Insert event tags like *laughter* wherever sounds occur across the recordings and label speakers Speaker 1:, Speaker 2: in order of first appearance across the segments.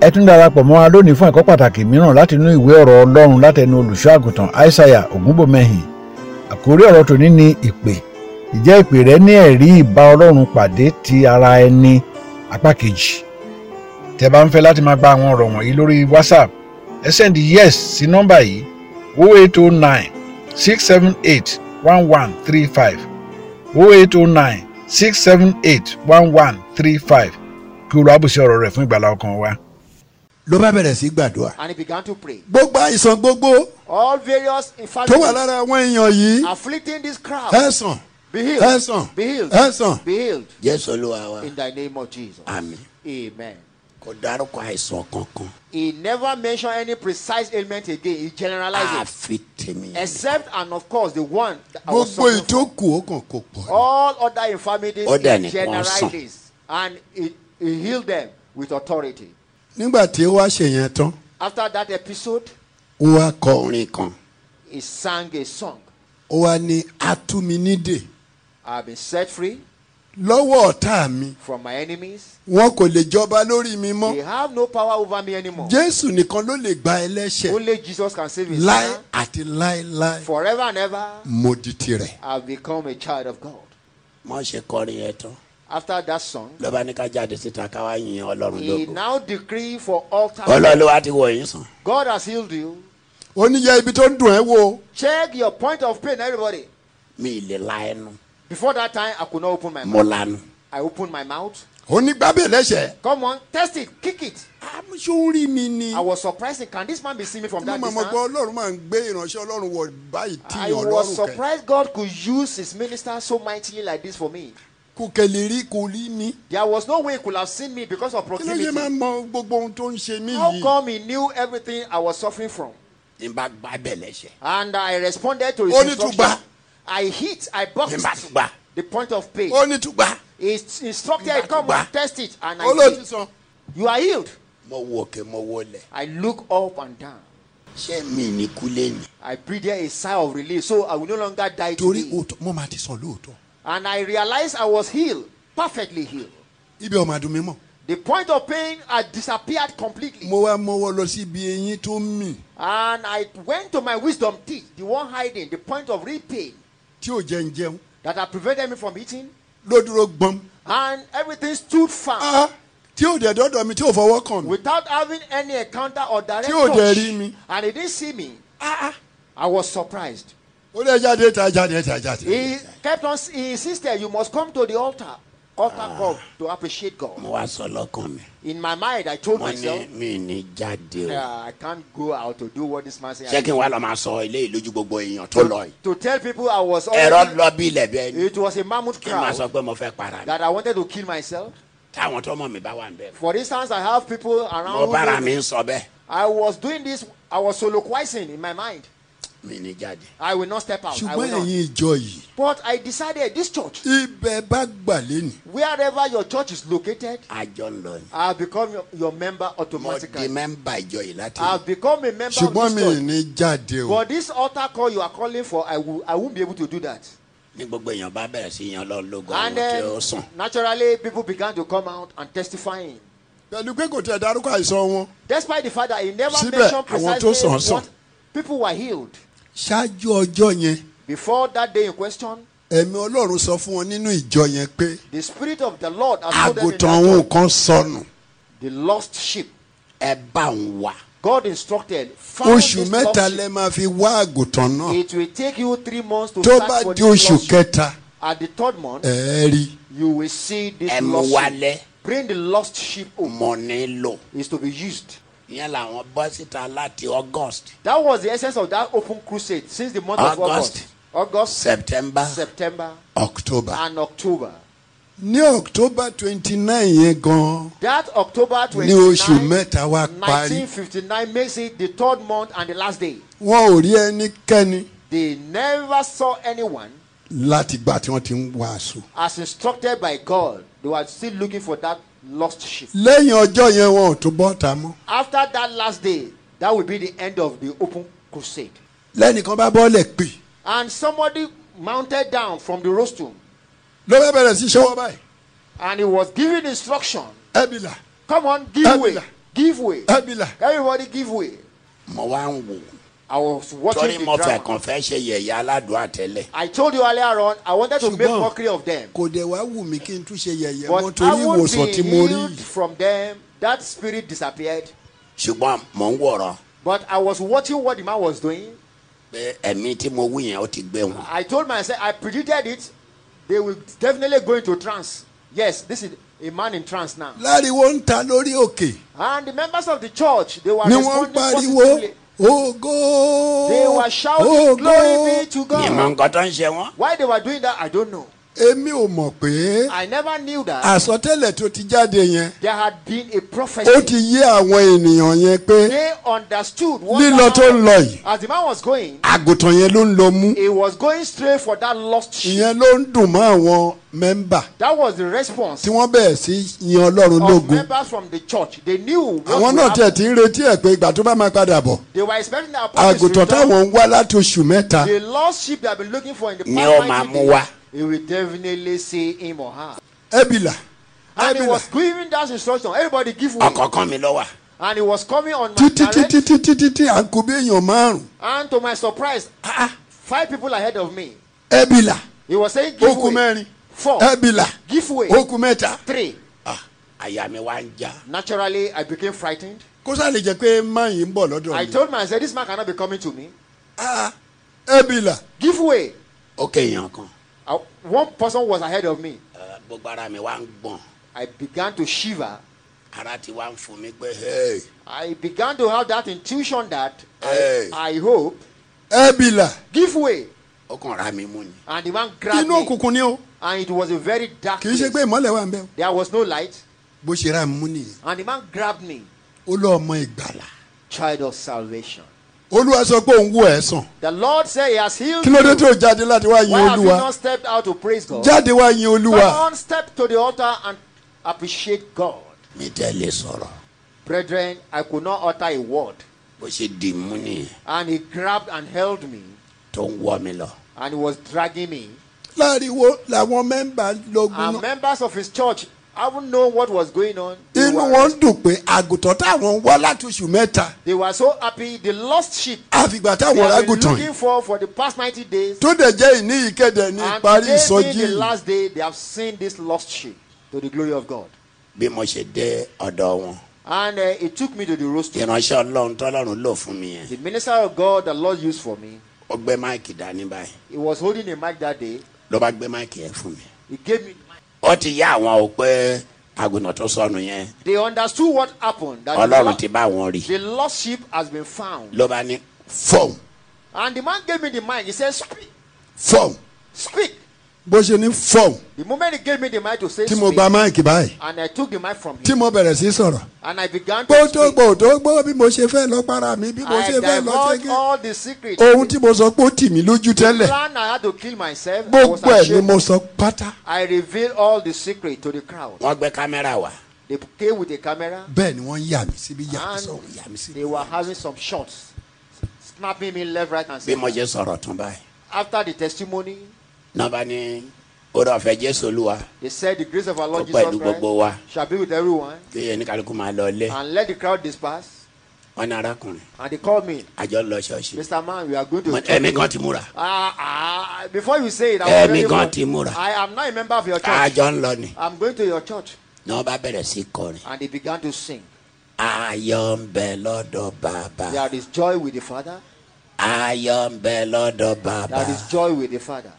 Speaker 1: ẹ tún darapọ̀ mọ́ wa lónìí fún ẹ̀kọ́ pàtàkì mìíràn láti inú ìwé ọ̀rọ̀ ọlọ́run látẹnu olùṣọ́ àgùntàn aishaiya ògúnbòmẹ́hìn àkórí ọ̀rọ̀ tòní ni ìpè ìjẹ́ ìpè rẹ ní ẹ̀rí ìbá ọlọ́run pàdé ti ara ẹni apá kejì tẹ́ bá ń fẹ́ láti máa gba àwọn ọ̀rọ̀ wọ̀nyí lórí whatsapp ẹ send yes sí nọ́mbà yìí 0809 678 1135 0809 678 1135 kí olú àbùsí ọ̀rọ̀ rẹ̀ fún ìgbàlá ọkàn wa.
Speaker 2: ló bá bẹ̀rẹ̀ sí gbàdúrà.
Speaker 3: and he began to pray.
Speaker 2: gbogbo àìsàn gbogbo
Speaker 3: All various
Speaker 2: tó wà
Speaker 3: infirmities
Speaker 2: lára àwọn èèyàn yìí
Speaker 3: afflicting this crowd
Speaker 2: ẹ sàn
Speaker 3: be
Speaker 2: ẹ
Speaker 3: healed.
Speaker 2: sàn
Speaker 3: Be healed.
Speaker 2: ẹ sàn.
Speaker 3: Be healed
Speaker 2: jésù olúwa wa
Speaker 3: in the name of Jesus.
Speaker 2: àmì
Speaker 3: Amen.
Speaker 2: kò dárúkọ àìsàn kankan
Speaker 3: He never mentioned any precise ailment again. He generalized it.
Speaker 2: àfi tèmi.
Speaker 3: Except, and of course, the one that I
Speaker 2: gbogbo
Speaker 3: was suffering from.
Speaker 2: ìtókù ó kàn kó pọ̀.
Speaker 3: All other infirmities,
Speaker 2: Ó dẹ̀
Speaker 3: he
Speaker 2: ní wọ́n sàn.
Speaker 3: generalized and he, he healed them with authority.
Speaker 2: nígbà tí ó wá ṣe yẹn tán
Speaker 3: After that episode,
Speaker 2: ó wá kọ orin kan
Speaker 3: he sang a song.
Speaker 2: ó wá ní atúminídè
Speaker 3: I've been set free
Speaker 2: lọ́wọ́ ọ̀tá mi
Speaker 3: from my enemies.
Speaker 2: wọn kò lè jọba lórí mi
Speaker 3: They
Speaker 2: mọ́
Speaker 3: have no power over me anymore.
Speaker 2: jésù nìkan ló lè gba ẹlẹ́ṣẹ̀
Speaker 3: *laughs* Only Jesus can save his
Speaker 2: láé
Speaker 3: son.
Speaker 2: àti láéláé
Speaker 3: Forever and ever,
Speaker 2: mo di tirẹ̀.
Speaker 3: I've become a child of God.
Speaker 2: wọ́n ṣe kọrin yẹn tán
Speaker 3: After that song,
Speaker 2: lọ́ba ní ká jáde síta ká wá yin ọlọ́run
Speaker 3: he now decree for all time.
Speaker 2: ọlọ́run wa ti wọ̀ yín sàn.
Speaker 3: God has healed you.
Speaker 2: ó ní yẹ ibi tó ń dùn ẹ́ wo
Speaker 3: Check your point of pain, everybody.
Speaker 2: mi ì lè la ẹnu
Speaker 3: Before that time, I could not open my
Speaker 2: mo
Speaker 3: mouth.
Speaker 2: lanu.
Speaker 3: I opened my mouth.
Speaker 2: ó ní gbábẹ́ lẹ́sẹ̀.
Speaker 3: Come on, test it, kick it.
Speaker 2: àmúṣe orí mi ni.
Speaker 3: I was surprised. Can this man be seeing me from
Speaker 2: mo
Speaker 3: that
Speaker 2: mọ̀ mọ̀
Speaker 3: distance?
Speaker 2: pé ọlọ́run máa ń gbé ìránṣẹ́ ọlọ́run wọ báyìí tí
Speaker 3: I
Speaker 2: ọlọ́run
Speaker 3: was
Speaker 2: kẹ.
Speaker 3: surprised God could use his minister so mightily like this for me.
Speaker 2: kò kẹlẹ̀ rí kò rí mi.
Speaker 3: There was no way he could have seen me because of
Speaker 2: kí ló yẹ máa
Speaker 3: proximity.
Speaker 2: mọ gbogbo ohun tó ń ṣe mí
Speaker 3: How
Speaker 2: yìí.
Speaker 3: come he knew everything I was suffering from?
Speaker 2: ní bá gbábẹ́ lẹ́sẹ̀.
Speaker 3: And I responded to his
Speaker 2: Ó ní
Speaker 3: instruction.
Speaker 2: tùgbà.
Speaker 3: I hit, I boxed
Speaker 2: Ní bá tùgbà.
Speaker 3: the point of pain.
Speaker 2: ó ní tùgbà.
Speaker 3: He s- instructed,
Speaker 2: Ní bá
Speaker 3: come on,
Speaker 2: tùgbà.
Speaker 3: test it. And I
Speaker 2: olóòtú
Speaker 3: did.
Speaker 2: sàn.
Speaker 3: You are healed.
Speaker 2: mo wo òkè mo wo lẹ̀.
Speaker 3: I look up and down.
Speaker 2: ṣé mi ní kúlẹ̀ ni.
Speaker 3: I breathed a sigh of relief, so I will no longer die
Speaker 2: torí
Speaker 3: today.
Speaker 2: òótọ́- mo máa ti sàn lóòótọ́.
Speaker 3: And I realized I was healed, perfectly healed.
Speaker 2: ibi ọmọ àdùn mi mọ̀.
Speaker 3: The point of pain had disappeared completely.
Speaker 2: mo wá mọ́wọ́ lọ sí ibi eyín tó ń mì
Speaker 3: And I went to my wisdom teeth, the one hiding, the point of real pain
Speaker 2: tí ò jẹ́ ń jẹun
Speaker 3: that had prevented me from eating.
Speaker 2: ló dúró gbọ́n.
Speaker 3: And everything stood firm
Speaker 2: Ah, tí ò dẹ̀ dọ́dọ̀ mi tí ò fọwọ́ kàn mí.
Speaker 3: without having any encounter or direct
Speaker 2: Tí ò dẹ̀
Speaker 3: touch.
Speaker 2: rí mi.
Speaker 3: And he didn't see me.
Speaker 2: Ah, ah.
Speaker 3: I was surprised.
Speaker 2: ó lè jáde ta jáde ta jáde.
Speaker 3: He kept on, he insisted, you must come to the altar, altar
Speaker 2: Ah.
Speaker 3: call to appreciate God.
Speaker 2: wá sọ lọ́kàn mi.
Speaker 3: In my mind, I told myself,
Speaker 2: mi ní jáde
Speaker 3: "Ah, I can't go out to do what this man said. I
Speaker 2: kí n wá lọ máa sọ ilé ìlójú gbogbo èèyàn tó
Speaker 3: to, to tell people I was already,
Speaker 2: lọ bí ilẹ̀ bẹ́ẹ̀
Speaker 3: it was a mammoth crowd
Speaker 2: pé mo fẹ́ para
Speaker 3: that I wanted to kill myself.
Speaker 2: Táwọn tó mọ̀ mi bá wà ń bẹ̀.
Speaker 3: For instance, I have people around who
Speaker 2: mi ń sọ bẹ́ẹ̀.
Speaker 3: I was doing this, I was soliloquizing in my mind.
Speaker 2: Mi ní jáde.
Speaker 3: I will not step out. I will
Speaker 2: Ṣùgbọ́n
Speaker 3: not.
Speaker 2: ẹ̀yin ìjọ yìí,
Speaker 3: But I decided this church,
Speaker 2: ibẹ̀ bá gbà lénìí.
Speaker 3: wherever your church is located,
Speaker 2: Àjọ ń lọ ni.
Speaker 3: I'll become your, your member
Speaker 2: mo di
Speaker 3: automatically.
Speaker 2: mẹ́mbà ìjọ yìí láti.
Speaker 3: I'll become a member
Speaker 2: ṣùgbọ́n
Speaker 3: of
Speaker 2: mi
Speaker 3: this
Speaker 2: ì
Speaker 3: church.
Speaker 2: ní jáde o.
Speaker 3: But this altar call you are calling for, I will I won't be able to do that.
Speaker 2: ní gbogbo èèyàn bá bẹ̀rẹ̀ sí yan lọ lógo
Speaker 3: and then naturally people began to come out and testifying.
Speaker 2: pẹ̀lú pé kò tẹ̀ dárúkọ àìsàn wọn.
Speaker 3: Despite the fact that he never
Speaker 2: Síbẹ̀, àwọn
Speaker 3: mentioned
Speaker 2: tó
Speaker 3: precisely
Speaker 2: sàn sàn.
Speaker 3: what people were healed.
Speaker 2: ṣáájú ọjọ́ yẹn
Speaker 3: Before that day in question,
Speaker 2: ẹ̀mí ọlọ́run sọ fún wọn nínú ìjọ yẹn pé
Speaker 3: the spirit of the Lord has told them in
Speaker 2: àgùntàn
Speaker 3: that
Speaker 2: òun
Speaker 3: church,
Speaker 2: kan sọnù
Speaker 3: the lost sheep.
Speaker 2: ẹ bá òun wá.
Speaker 3: God instructed, "Found
Speaker 2: oṣù
Speaker 3: this lost
Speaker 2: mẹ́ta
Speaker 3: sheep.
Speaker 2: lẹ máa fi wá àgùntàn náà
Speaker 3: It will take you three months to
Speaker 2: tó
Speaker 3: search
Speaker 2: bá
Speaker 3: for
Speaker 2: di
Speaker 3: this
Speaker 2: oṣù
Speaker 3: lost sheep.
Speaker 2: kẹta
Speaker 3: At the third month,
Speaker 2: ẹ rí
Speaker 3: you will see this
Speaker 4: Ẹ mú
Speaker 3: lost
Speaker 4: wálẹ̀.
Speaker 3: sheep. Bring the lost sheep home.
Speaker 4: mọ̀ nílò.
Speaker 3: Is to be used.
Speaker 4: ìyẹn làwọn bọ́ síta láti august
Speaker 3: That was the essence of that open crusade since the month of August,
Speaker 4: August.
Speaker 3: August,
Speaker 4: september
Speaker 3: September,
Speaker 2: october
Speaker 3: and October.
Speaker 2: ní october twenty nine yẹn gan
Speaker 3: That October
Speaker 2: ní oṣù
Speaker 3: 29,
Speaker 2: mẹ́ta wá parí
Speaker 3: 1959 makes it the third month and the last day.
Speaker 2: wọn ò rí ẹnikẹ́ni
Speaker 3: They never saw anyone
Speaker 2: láti gbà tí wọ́n ti ń wàásù.
Speaker 3: as instructed by God. They were still looking for that lost sheep.
Speaker 2: lẹ́yìn ọjọ́ yẹn wọn ò tún bọ́ ta mọ́.
Speaker 3: After that last day, that will be the end of the open crusade.
Speaker 2: lẹ́nìkan bá bọ́ọ̀lẹ̀ pè
Speaker 3: And somebody mounted down from the rostrum
Speaker 2: ló bá bẹ̀rẹ̀ sí ṣọwọ́ báyìí
Speaker 3: and he was giving instruction
Speaker 2: ẹ̀bìlà
Speaker 3: Come on, give way.
Speaker 2: ẹ̀bìlà
Speaker 3: Give way.
Speaker 2: Abila.
Speaker 3: Everybody give way.
Speaker 4: mo wá ń wò
Speaker 3: I was
Speaker 4: torí
Speaker 3: watching
Speaker 4: mo
Speaker 3: the
Speaker 4: fẹ́
Speaker 3: drama.
Speaker 4: kàn fẹ́ ṣe yẹ̀yẹ́ aládùn àtẹ́lẹ̀
Speaker 3: I told you earlier on, I wanted to make
Speaker 2: Ṣùgbọ́n-
Speaker 3: mockery of them.
Speaker 2: kò dẹ̀ wá wù mí kí n tún ṣe yẹ̀yẹ́ mọ́
Speaker 3: But I
Speaker 2: torí
Speaker 3: won't
Speaker 2: ìwòsàn
Speaker 3: be
Speaker 2: tí mo rí
Speaker 3: healed
Speaker 2: yìí.
Speaker 3: from them. That spirit disappeared.
Speaker 4: ṣùgbọ́n mò ń wòran
Speaker 3: But I was watching what the man was doing.
Speaker 4: pé ẹ̀mí tí mo wí yẹn ó ti gbé wọn
Speaker 3: I told myself, I predicted it. They will definitely go into trance. Yes, this is a man in trance now.
Speaker 2: láriwo ń ta lórí òkè
Speaker 3: And the members of the church, they were
Speaker 2: ni wọ́n ń
Speaker 3: responding
Speaker 2: pariwo "Oh,
Speaker 3: positively.
Speaker 2: ògo
Speaker 3: They were shouting, Glory be to
Speaker 4: ìmọ̀
Speaker 3: God.
Speaker 4: nǹkan tó ń ṣe wọ́n
Speaker 3: Why they were doing that, I don't know.
Speaker 2: èmi ò mọ̀ pé
Speaker 3: I never knew that
Speaker 2: Ah. àsọtẹ́lẹ̀ tó ti jáde yẹn
Speaker 3: there had been a prophecy.
Speaker 2: ó ti yé àwọn ènìyàn yẹn pé
Speaker 3: They understood what
Speaker 2: lílọ tó ń
Speaker 3: happened.
Speaker 2: lọ yìí
Speaker 3: As the man was going,
Speaker 2: àgùntàn yẹn ló ń lọ mú
Speaker 3: he was going straight for that lost sheep.
Speaker 2: ìyẹn ló ń dùn mọ́ àwọn mẹ́mbà
Speaker 3: That was the response
Speaker 2: tí wọ́n bẹ̀rẹ̀ sí yan ọlọ́run
Speaker 3: of
Speaker 2: lógun
Speaker 3: members from the church. They knew what
Speaker 2: àwọn
Speaker 3: would
Speaker 2: náà tiẹ̀
Speaker 3: happen.
Speaker 2: ti ń retí ẹ̀ pé ìgbà tó bá máa padà bọ̀
Speaker 3: They were expecting the apostles to
Speaker 2: àgùntàn
Speaker 3: return.
Speaker 2: táwọn ń wá láti oṣù mẹ́ta
Speaker 3: The lost sheep they have been looking for in the past
Speaker 4: Ni ó máa
Speaker 3: 90
Speaker 4: mú
Speaker 3: days,
Speaker 4: wá.
Speaker 3: He will definitely see him or her.
Speaker 2: ẹ́bìlà
Speaker 3: And he
Speaker 2: ẹ́bìlà
Speaker 3: was giving that instruction. Everybody give way.
Speaker 4: ọ̀kọ̀ọ̀kan mi ló wà
Speaker 3: And he was coming on my
Speaker 2: títí
Speaker 3: direct.
Speaker 2: títí títí títí à ń kó bí èèyàn márùn-ún
Speaker 3: And to my surprise, ah, ah, five people ahead of me.
Speaker 2: ẹ́bìlà
Speaker 3: He was saying,
Speaker 2: ó
Speaker 3: give
Speaker 2: kù
Speaker 3: way.
Speaker 2: mẹ́rin
Speaker 3: Four.
Speaker 2: ẹ́bìlà
Speaker 3: Give way.
Speaker 2: ó kù mẹ́ta
Speaker 3: Three.
Speaker 4: Ah, àyà mi wá ń já
Speaker 3: Naturally, I became frightened.
Speaker 2: kó sáà lè jẹ́ pé máyì ń bọ̀ lọ́dọ̀
Speaker 3: I
Speaker 2: mi
Speaker 3: told myself, this man cannot be coming to me.
Speaker 2: Ah, ẹ́bìlà
Speaker 3: Give way.
Speaker 4: ó kéèyàn kan
Speaker 3: I- one person was ahead of me.
Speaker 4: Ah, gbogbo ara mi wá ń gbọ̀n
Speaker 3: I began to shiver.
Speaker 4: ara ti wá ń fún mi pé hey,
Speaker 3: I began to have that intuition that
Speaker 4: Hey.
Speaker 3: I, I hope.
Speaker 2: ẹ́bìlà
Speaker 3: Give way.
Speaker 4: ó kàn ra mi mú ni
Speaker 3: And the man grabbed
Speaker 2: inú
Speaker 3: me.
Speaker 2: òkùnkùn ni ó
Speaker 3: And it was a very dark
Speaker 2: kì í ṣe
Speaker 3: place.
Speaker 2: pé ìmọ́lẹ̀ wà ń bẹ́ o.
Speaker 3: There was no light.
Speaker 2: bó ṣe ra mú nìyẹn
Speaker 3: And the man grabbed me.
Speaker 2: ó lọ ọmọ ìgbàlà
Speaker 3: Child of salvation.
Speaker 2: olúwa sọ pé òun wò ẹ́ sàn
Speaker 3: The Lord said he has healed
Speaker 2: kí ló dé
Speaker 3: you.
Speaker 2: tó jáde láti wá yin
Speaker 3: Why have you
Speaker 2: olúwa
Speaker 3: not stepped out to praise God?
Speaker 2: jáde wá yin olúwa
Speaker 3: Come on, step to the altar and appreciate God.
Speaker 4: mi tẹ́lẹ̀ sọ̀rọ̀
Speaker 3: Brethren, I could not utter a word.
Speaker 4: bó ṣe dì mú nìyẹn
Speaker 3: And he grabbed and held me
Speaker 4: tó ń wọ́ mi lọ
Speaker 3: and he was dragging me.
Speaker 2: láriwo làwọn mẹ́mbà lọ́gùn
Speaker 3: And
Speaker 2: náà
Speaker 3: members of his church, I wouldn't know what was going on. They,
Speaker 2: inú
Speaker 3: were,
Speaker 2: wọn ń dùn pé àgùntàn táwọn ń wá láti oṣù mẹ́ta
Speaker 3: they were so happy. The lost sheep
Speaker 2: àfìgbà
Speaker 3: they
Speaker 2: táwọn
Speaker 3: have been
Speaker 2: rágùntàn
Speaker 3: looking
Speaker 2: yìí
Speaker 3: for for the past 90 days.
Speaker 2: tó dẹ̀ jẹ́ ìní ìkẹ́dẹ̀ ní
Speaker 3: And
Speaker 2: ìparí
Speaker 3: today
Speaker 2: ìsọjí
Speaker 3: being the
Speaker 2: yìí.
Speaker 3: last day, they have seen this lost sheep to the glory of God.
Speaker 4: bí mo ṣe dé ọ̀dọ̀ wọn
Speaker 3: And uh, it took me to the roaster.
Speaker 4: ìránṣẹ́ ọlọ́run tọ́lọ́run lò fún mi yẹn
Speaker 3: The minister of God the Lord used for me,
Speaker 4: ó gbé máìkì dání báyìí
Speaker 3: he was holding a mic that day.
Speaker 4: ló bá gbé máìkì yẹn fún mi
Speaker 3: He gave me the mic.
Speaker 4: ó ti yá àwọn o pé àgùntàn tó sọnù yẹn
Speaker 3: They understood what happened. That the,
Speaker 4: ọlọ́run
Speaker 3: lo-
Speaker 4: ti bá wọn rí
Speaker 3: the lost sheep has been found.
Speaker 4: ló bá ní fọ́ọ̀m
Speaker 3: And the man gave me the mic. He said, Speak,
Speaker 2: fọ́ọ̀m
Speaker 3: speak.
Speaker 2: bó ṣe ní fọ́ọ̀m
Speaker 3: The moment he gave me the mic to say,
Speaker 2: tí mo
Speaker 3: speak,
Speaker 2: gba máìkì báyìí
Speaker 3: and I took the mic from
Speaker 2: tí
Speaker 3: him,
Speaker 2: mo bẹ̀rẹ̀ sí sọ̀rọ̀
Speaker 3: and I began to
Speaker 2: gbódò
Speaker 3: speak.
Speaker 2: gbòdò gbó bí mo ṣe fẹ́ lọ para mi bí mo
Speaker 3: I
Speaker 2: ṣe fẹ́ lọ
Speaker 3: divulged
Speaker 2: ṣẹ́gi
Speaker 3: all the secrets.
Speaker 2: ohun tí mo sọ pé ó tì mí lójú
Speaker 3: The
Speaker 2: tẹ́lẹ̀
Speaker 3: plan I had to kill myself. I was
Speaker 2: gbogbo ẹ̀ ni
Speaker 3: ashamed.
Speaker 2: mo sọ pátá
Speaker 3: I revealed all the secret to the crowd.
Speaker 4: wọ́n gbé kámẹ́rà wá
Speaker 3: They came with a camera
Speaker 2: bẹ́ẹ̀ ni wọ́n yà mí síbi yà mí sọ̀rọ̀ yà mí
Speaker 3: and
Speaker 2: síbi.
Speaker 3: they were having some shots, snapping me left, right, and
Speaker 4: bí mo
Speaker 3: center.
Speaker 4: ṣe sọ̀rọ̀ tán báyìí
Speaker 3: After the testimony,
Speaker 4: náà bá ní orí ọ̀fẹ́ jésù olúwa
Speaker 3: they said, The grace of our Lord
Speaker 4: Ọpẹ́
Speaker 3: Jesus
Speaker 4: ìlú gbogbo wa.
Speaker 3: Christ shall be with everyone,
Speaker 4: kí ẹni kálukú máa lọ ilé
Speaker 3: and let the crowd disperse.
Speaker 4: wọn ní arákùnrin
Speaker 3: And they called me,
Speaker 4: àjọ lọ ṣọ́ọ̀ṣì
Speaker 3: Mr. Man, we are going
Speaker 4: Mo
Speaker 3: to.
Speaker 4: ní, ẹ̀mí kan ti múra
Speaker 3: Ah, ah, before you say it, I was
Speaker 4: Ẹ̀mí
Speaker 3: ready
Speaker 4: kan
Speaker 3: for-
Speaker 4: ti múra.
Speaker 3: I am not a member of your church.
Speaker 4: àjọ ń lọ ni
Speaker 3: I'm going to your church.
Speaker 4: náà bá bẹ̀rẹ̀ sí kọrin
Speaker 3: And they began to sing.
Speaker 4: ayọ̀ ń bẹ lọ́dọ̀ bàbá
Speaker 3: There is joy with the Father.
Speaker 4: ayọ̀ ń bẹ lọ́dọ̀ bàbá
Speaker 3: There is joy with the Father.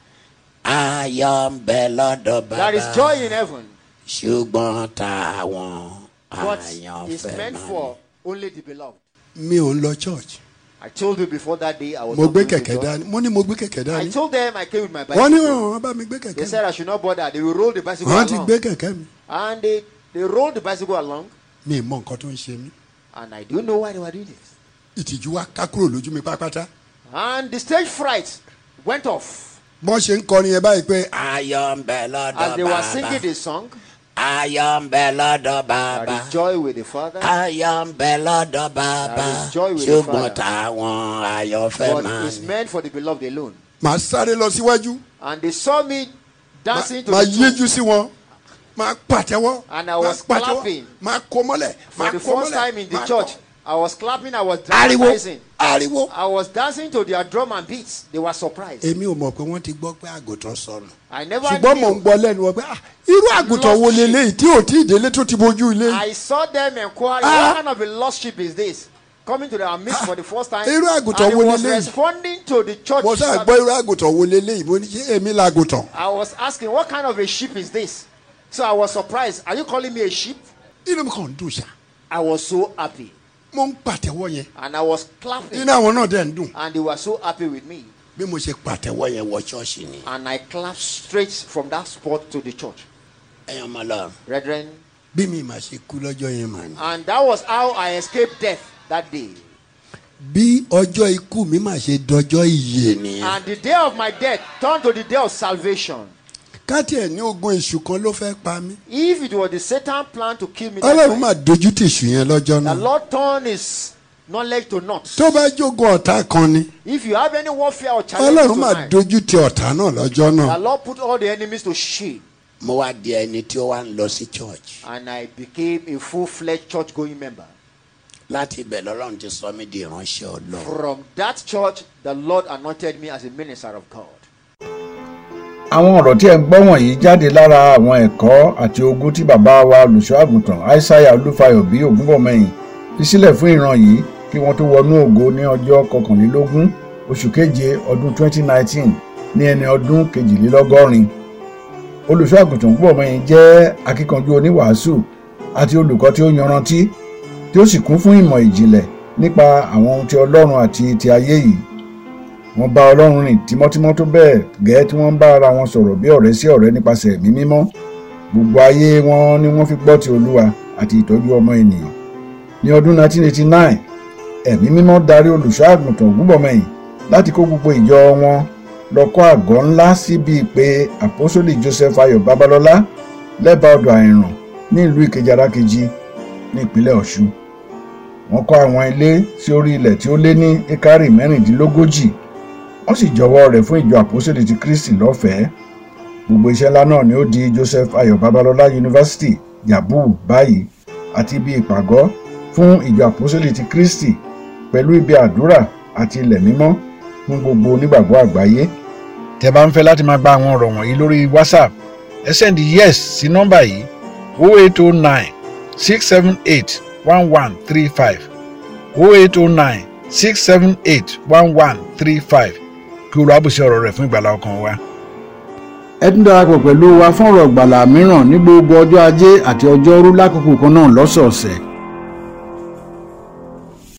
Speaker 4: ayọ̀ ń bẹ lọ́dọ̀
Speaker 3: There
Speaker 4: bàbá
Speaker 3: is joy in heaven.
Speaker 4: ṣùgbọ́n táwọn
Speaker 3: But
Speaker 2: Ah,
Speaker 3: it's
Speaker 4: àyànfẹ́
Speaker 3: meant
Speaker 4: náà
Speaker 3: for only the beloved.
Speaker 2: mi ò ń lọ church
Speaker 3: I told you before that day I was.
Speaker 2: mo
Speaker 3: not
Speaker 2: gbé
Speaker 3: going to
Speaker 2: kẹ̀kẹ́
Speaker 3: join.
Speaker 2: dání mo ní mo gbé kẹ̀kẹ́
Speaker 3: I
Speaker 2: dání
Speaker 3: told them I came with my
Speaker 2: wọ́n ní
Speaker 3: bicycle.
Speaker 4: "Oh,
Speaker 2: wọ́n bá mi gbé
Speaker 3: They
Speaker 2: kẹ̀kẹ́
Speaker 3: said I should not bother. They will roll the bicycle
Speaker 2: wọ́n ti
Speaker 3: along.
Speaker 2: gbé kẹ̀kẹ́ mi
Speaker 3: And they, they rolled the bicycle along.
Speaker 2: mi ì mọ nǹkan tó ń ṣe mí
Speaker 3: And I don't know why they were doing this.
Speaker 2: ìtìjú wa ká kúrò lójú mi pátápátá
Speaker 3: And the stage fright went off
Speaker 2: bọ́n ṣe ń kọrin yẹn báyìí pé
Speaker 4: ayọ̀ ń bẹ
Speaker 3: as they
Speaker 4: lọ́dọ̀
Speaker 3: were
Speaker 4: bàbá
Speaker 3: singing the song.
Speaker 4: ayọ̀ ń bẹ lọ́dọ̀
Speaker 3: There
Speaker 4: bàbá.
Speaker 3: is joy with the Father.
Speaker 4: ayọ̀ ń bẹ lọ́dọ̀ bàbá
Speaker 3: There is joy with the
Speaker 4: ṣùgbọ́n
Speaker 3: Father.
Speaker 4: táwọn àyànfẹ́
Speaker 3: But
Speaker 4: máa
Speaker 3: it's
Speaker 4: ní.
Speaker 3: meant for the beloved alone.
Speaker 2: màá sáré lọ síwájú
Speaker 3: And they saw me
Speaker 2: màá
Speaker 3: dancing to
Speaker 2: màá
Speaker 3: the tune.
Speaker 2: yíjú sí wọn
Speaker 4: máa pàtẹ́wọ́.
Speaker 3: And I was
Speaker 4: máa pàtẹ́wọ́,
Speaker 3: clapping.
Speaker 4: máa kó mọ́lẹ̀.
Speaker 3: For
Speaker 4: máa
Speaker 3: the
Speaker 4: kó
Speaker 3: first
Speaker 4: mọ́lẹ̀,
Speaker 3: time in the
Speaker 4: máa
Speaker 3: church,
Speaker 4: kó-
Speaker 3: I was clapping, I was
Speaker 4: Ariwo
Speaker 3: dancing.
Speaker 4: ariwo.
Speaker 3: I was dancing to their drum and beats. They were surprised.
Speaker 4: Èmi ò mọ̀ pé wọ́n ti gbọ́ pé àgùntàn sọnù.
Speaker 3: I never
Speaker 4: Ṣùgbọ́n mò
Speaker 3: knew.
Speaker 4: ń gbọ́ lẹ́nu wọn pé "Ah, irú àgùntàn wo leléyìí tí ò tí ì délé tó ti bojú ilé.
Speaker 3: I saw them inquiring,
Speaker 4: Ah.
Speaker 3: what kind of a lost sheep is this? Coming to their midst for the first time.
Speaker 4: Irú
Speaker 3: And
Speaker 4: àgùntàn
Speaker 3: he
Speaker 4: wo
Speaker 3: was
Speaker 4: leléyìí?
Speaker 3: responding to the church.
Speaker 4: Mo sáà gbọ́
Speaker 3: service.
Speaker 4: irú àgùntàn wo leléyìí mo ní ṣé èmi làgùntàn.
Speaker 3: I was asking, what kind of a sheep is this? So I was surprised. Are you calling me a sheep?
Speaker 4: Inú mi kàn ń dùn ṣá.
Speaker 3: I was so happy.
Speaker 4: Mo ń pàtẹ́wọ́ yẹn.
Speaker 3: And I was clapping.
Speaker 4: Inú àwọn náà dẹ̀ ń dùn.
Speaker 3: And they were so happy with me.
Speaker 4: Bí mo ṣe pàtẹ́wọ́
Speaker 2: àtẹwọ́ yẹn wọ ṣọ́ọ̀ṣì ni
Speaker 3: And I clapped straight from that spot to the church.
Speaker 2: ẹ̀yàn máa lọ.
Speaker 3: Brethren,
Speaker 4: bí mi mà ṣe kú lọ́jọ́ yẹn mà ní.
Speaker 3: and that was how I escaped death that day.
Speaker 4: Bí ọjọ́ ikú mi mà ṣe dọjọ́ ìyè nìyẹn.
Speaker 3: And the day of my death turned to the day of salvation.
Speaker 4: Káàtì ẹ̀ ní ogun èṣù kan ló fẹ́ pa mí.
Speaker 3: If it was the Satan plan to kill me, that
Speaker 4: Ọlọ́run mà
Speaker 3: night,
Speaker 4: dojú tìṣù yẹn lọ́jọ́
Speaker 3: the
Speaker 4: náà.
Speaker 3: Lord turned his knowledge to naught.
Speaker 4: Tó bá jogun ọ̀tá kan ni,
Speaker 3: If you have any warfare or challenge
Speaker 4: Ọlọ́run mà
Speaker 3: tonight,
Speaker 4: dojú ti ọ̀tá náà lọ́jọ́
Speaker 3: the
Speaker 4: náà.
Speaker 3: Lord put all the enemies to shame.
Speaker 2: mo wá di ẹni tí ó wá ń lọ sí church
Speaker 3: And I became a full-fledged church-going member.
Speaker 2: láti ibẹ̀ lọ́lọ́run ti sọ mí di ìránṣẹ́ ọlọ́run.
Speaker 3: From that church, the Lord anointed me as a minister of God.
Speaker 1: àwọn ọ̀rọ̀ tí ẹ̀ ń gbọ́ wọ̀nyí jáde lára àwọn ẹ̀kọ́ àti ogún tí bàbá wa olùṣọ́àgùntàn aishaiya olúfayọ bí ògúnbọ̀mọyìn fi sílẹ̀ fún ìran yìí kí wọ́n tó wọnú ògo ní ọjọ́ kọkànlélógún oṣù keje ọdún 2019 ní ẹni ọdún kejìlélọ́gọ́rin olùṣọ́àgùntàn ògúnbọ̀mọyìn jẹ́ akíkanjú oníwàásù àti olùkọ́ tí ó yanrantí tí ó sì kún fún ìmọ̀ ìjìnlẹ̀ nípa àwọn ohun ti ọlọ́run àti ti ayé yìí wọ́n bá ọlọ́run rìn tímọ́tímọ́ tó bẹ́ẹ̀ gẹ́ẹ́ tí wọ́n ń bá ara wọn sọ̀rọ̀ bí ọ̀rẹ́ sí ọ̀rẹ́ nípasẹ̀ ẹ̀mí mímọ́ gbogbo ayé wọn ni wọ́n fi gbọ́ ti olúwa àti ìtọ́jú ọmọ ènìyàn ní ọdún 1989 ẹ̀mí mímọ́ darí olùṣọ́ àgùntàn ògúnbọ̀mọyìn láti kó gbogbo ìjọ wọn lọ kọ́ àgọ́ ńlá síbi ìpè àpọ́sólì joseph ayọ̀ babalọ́lá lẹ́bàá ọ̀dọ̀ àìràn ní ìlú ìkejì arákejì ní ìpínlẹ̀ ọ̀ṣun wọ́n kọ́ àwọn ilé sí orí ilẹ̀ tí ó lé ní ekari mẹ́rìndínlógójì wọ́n sì jọwọ́ rẹ̀ fún ìjọ àpòsílẹ̀ ti kristi lọ́fẹ̀ẹ́ gbogbo iṣẹ́ ńlá náà ni ó di joseph ayọ̀ babalọ́lá yunifásitì yabu báyìí àti ibi ìpàgọ́ fún ìjọ àpòsílẹ̀ ti kristi pẹ̀lú ibi àdúrà àti ilẹ̀ mímọ́ fún gbogbo onígbàgbọ́ àgbáyé. tẹ bá ń fẹ́ láti máa gba àwọn ọ̀rọ̀ wọ̀nyí lórí whatsapp ẹ sẹ́ndí yes sí nọ́mbà yìí 0809 678 1135 0809 678 1135 kí olú àbùsí ọ̀rọ̀ rẹ̀ fún ìgbàlá ọkàn wa. ẹ tún darapọ̀ pẹ̀lú wa fún ọ̀rọ̀ ìgbàlá mìíràn ní gbogbo ọjọ́ ajé àti ọjọ́ rú lákòókò kan náà lọ́sọ̀ọ̀sẹ̀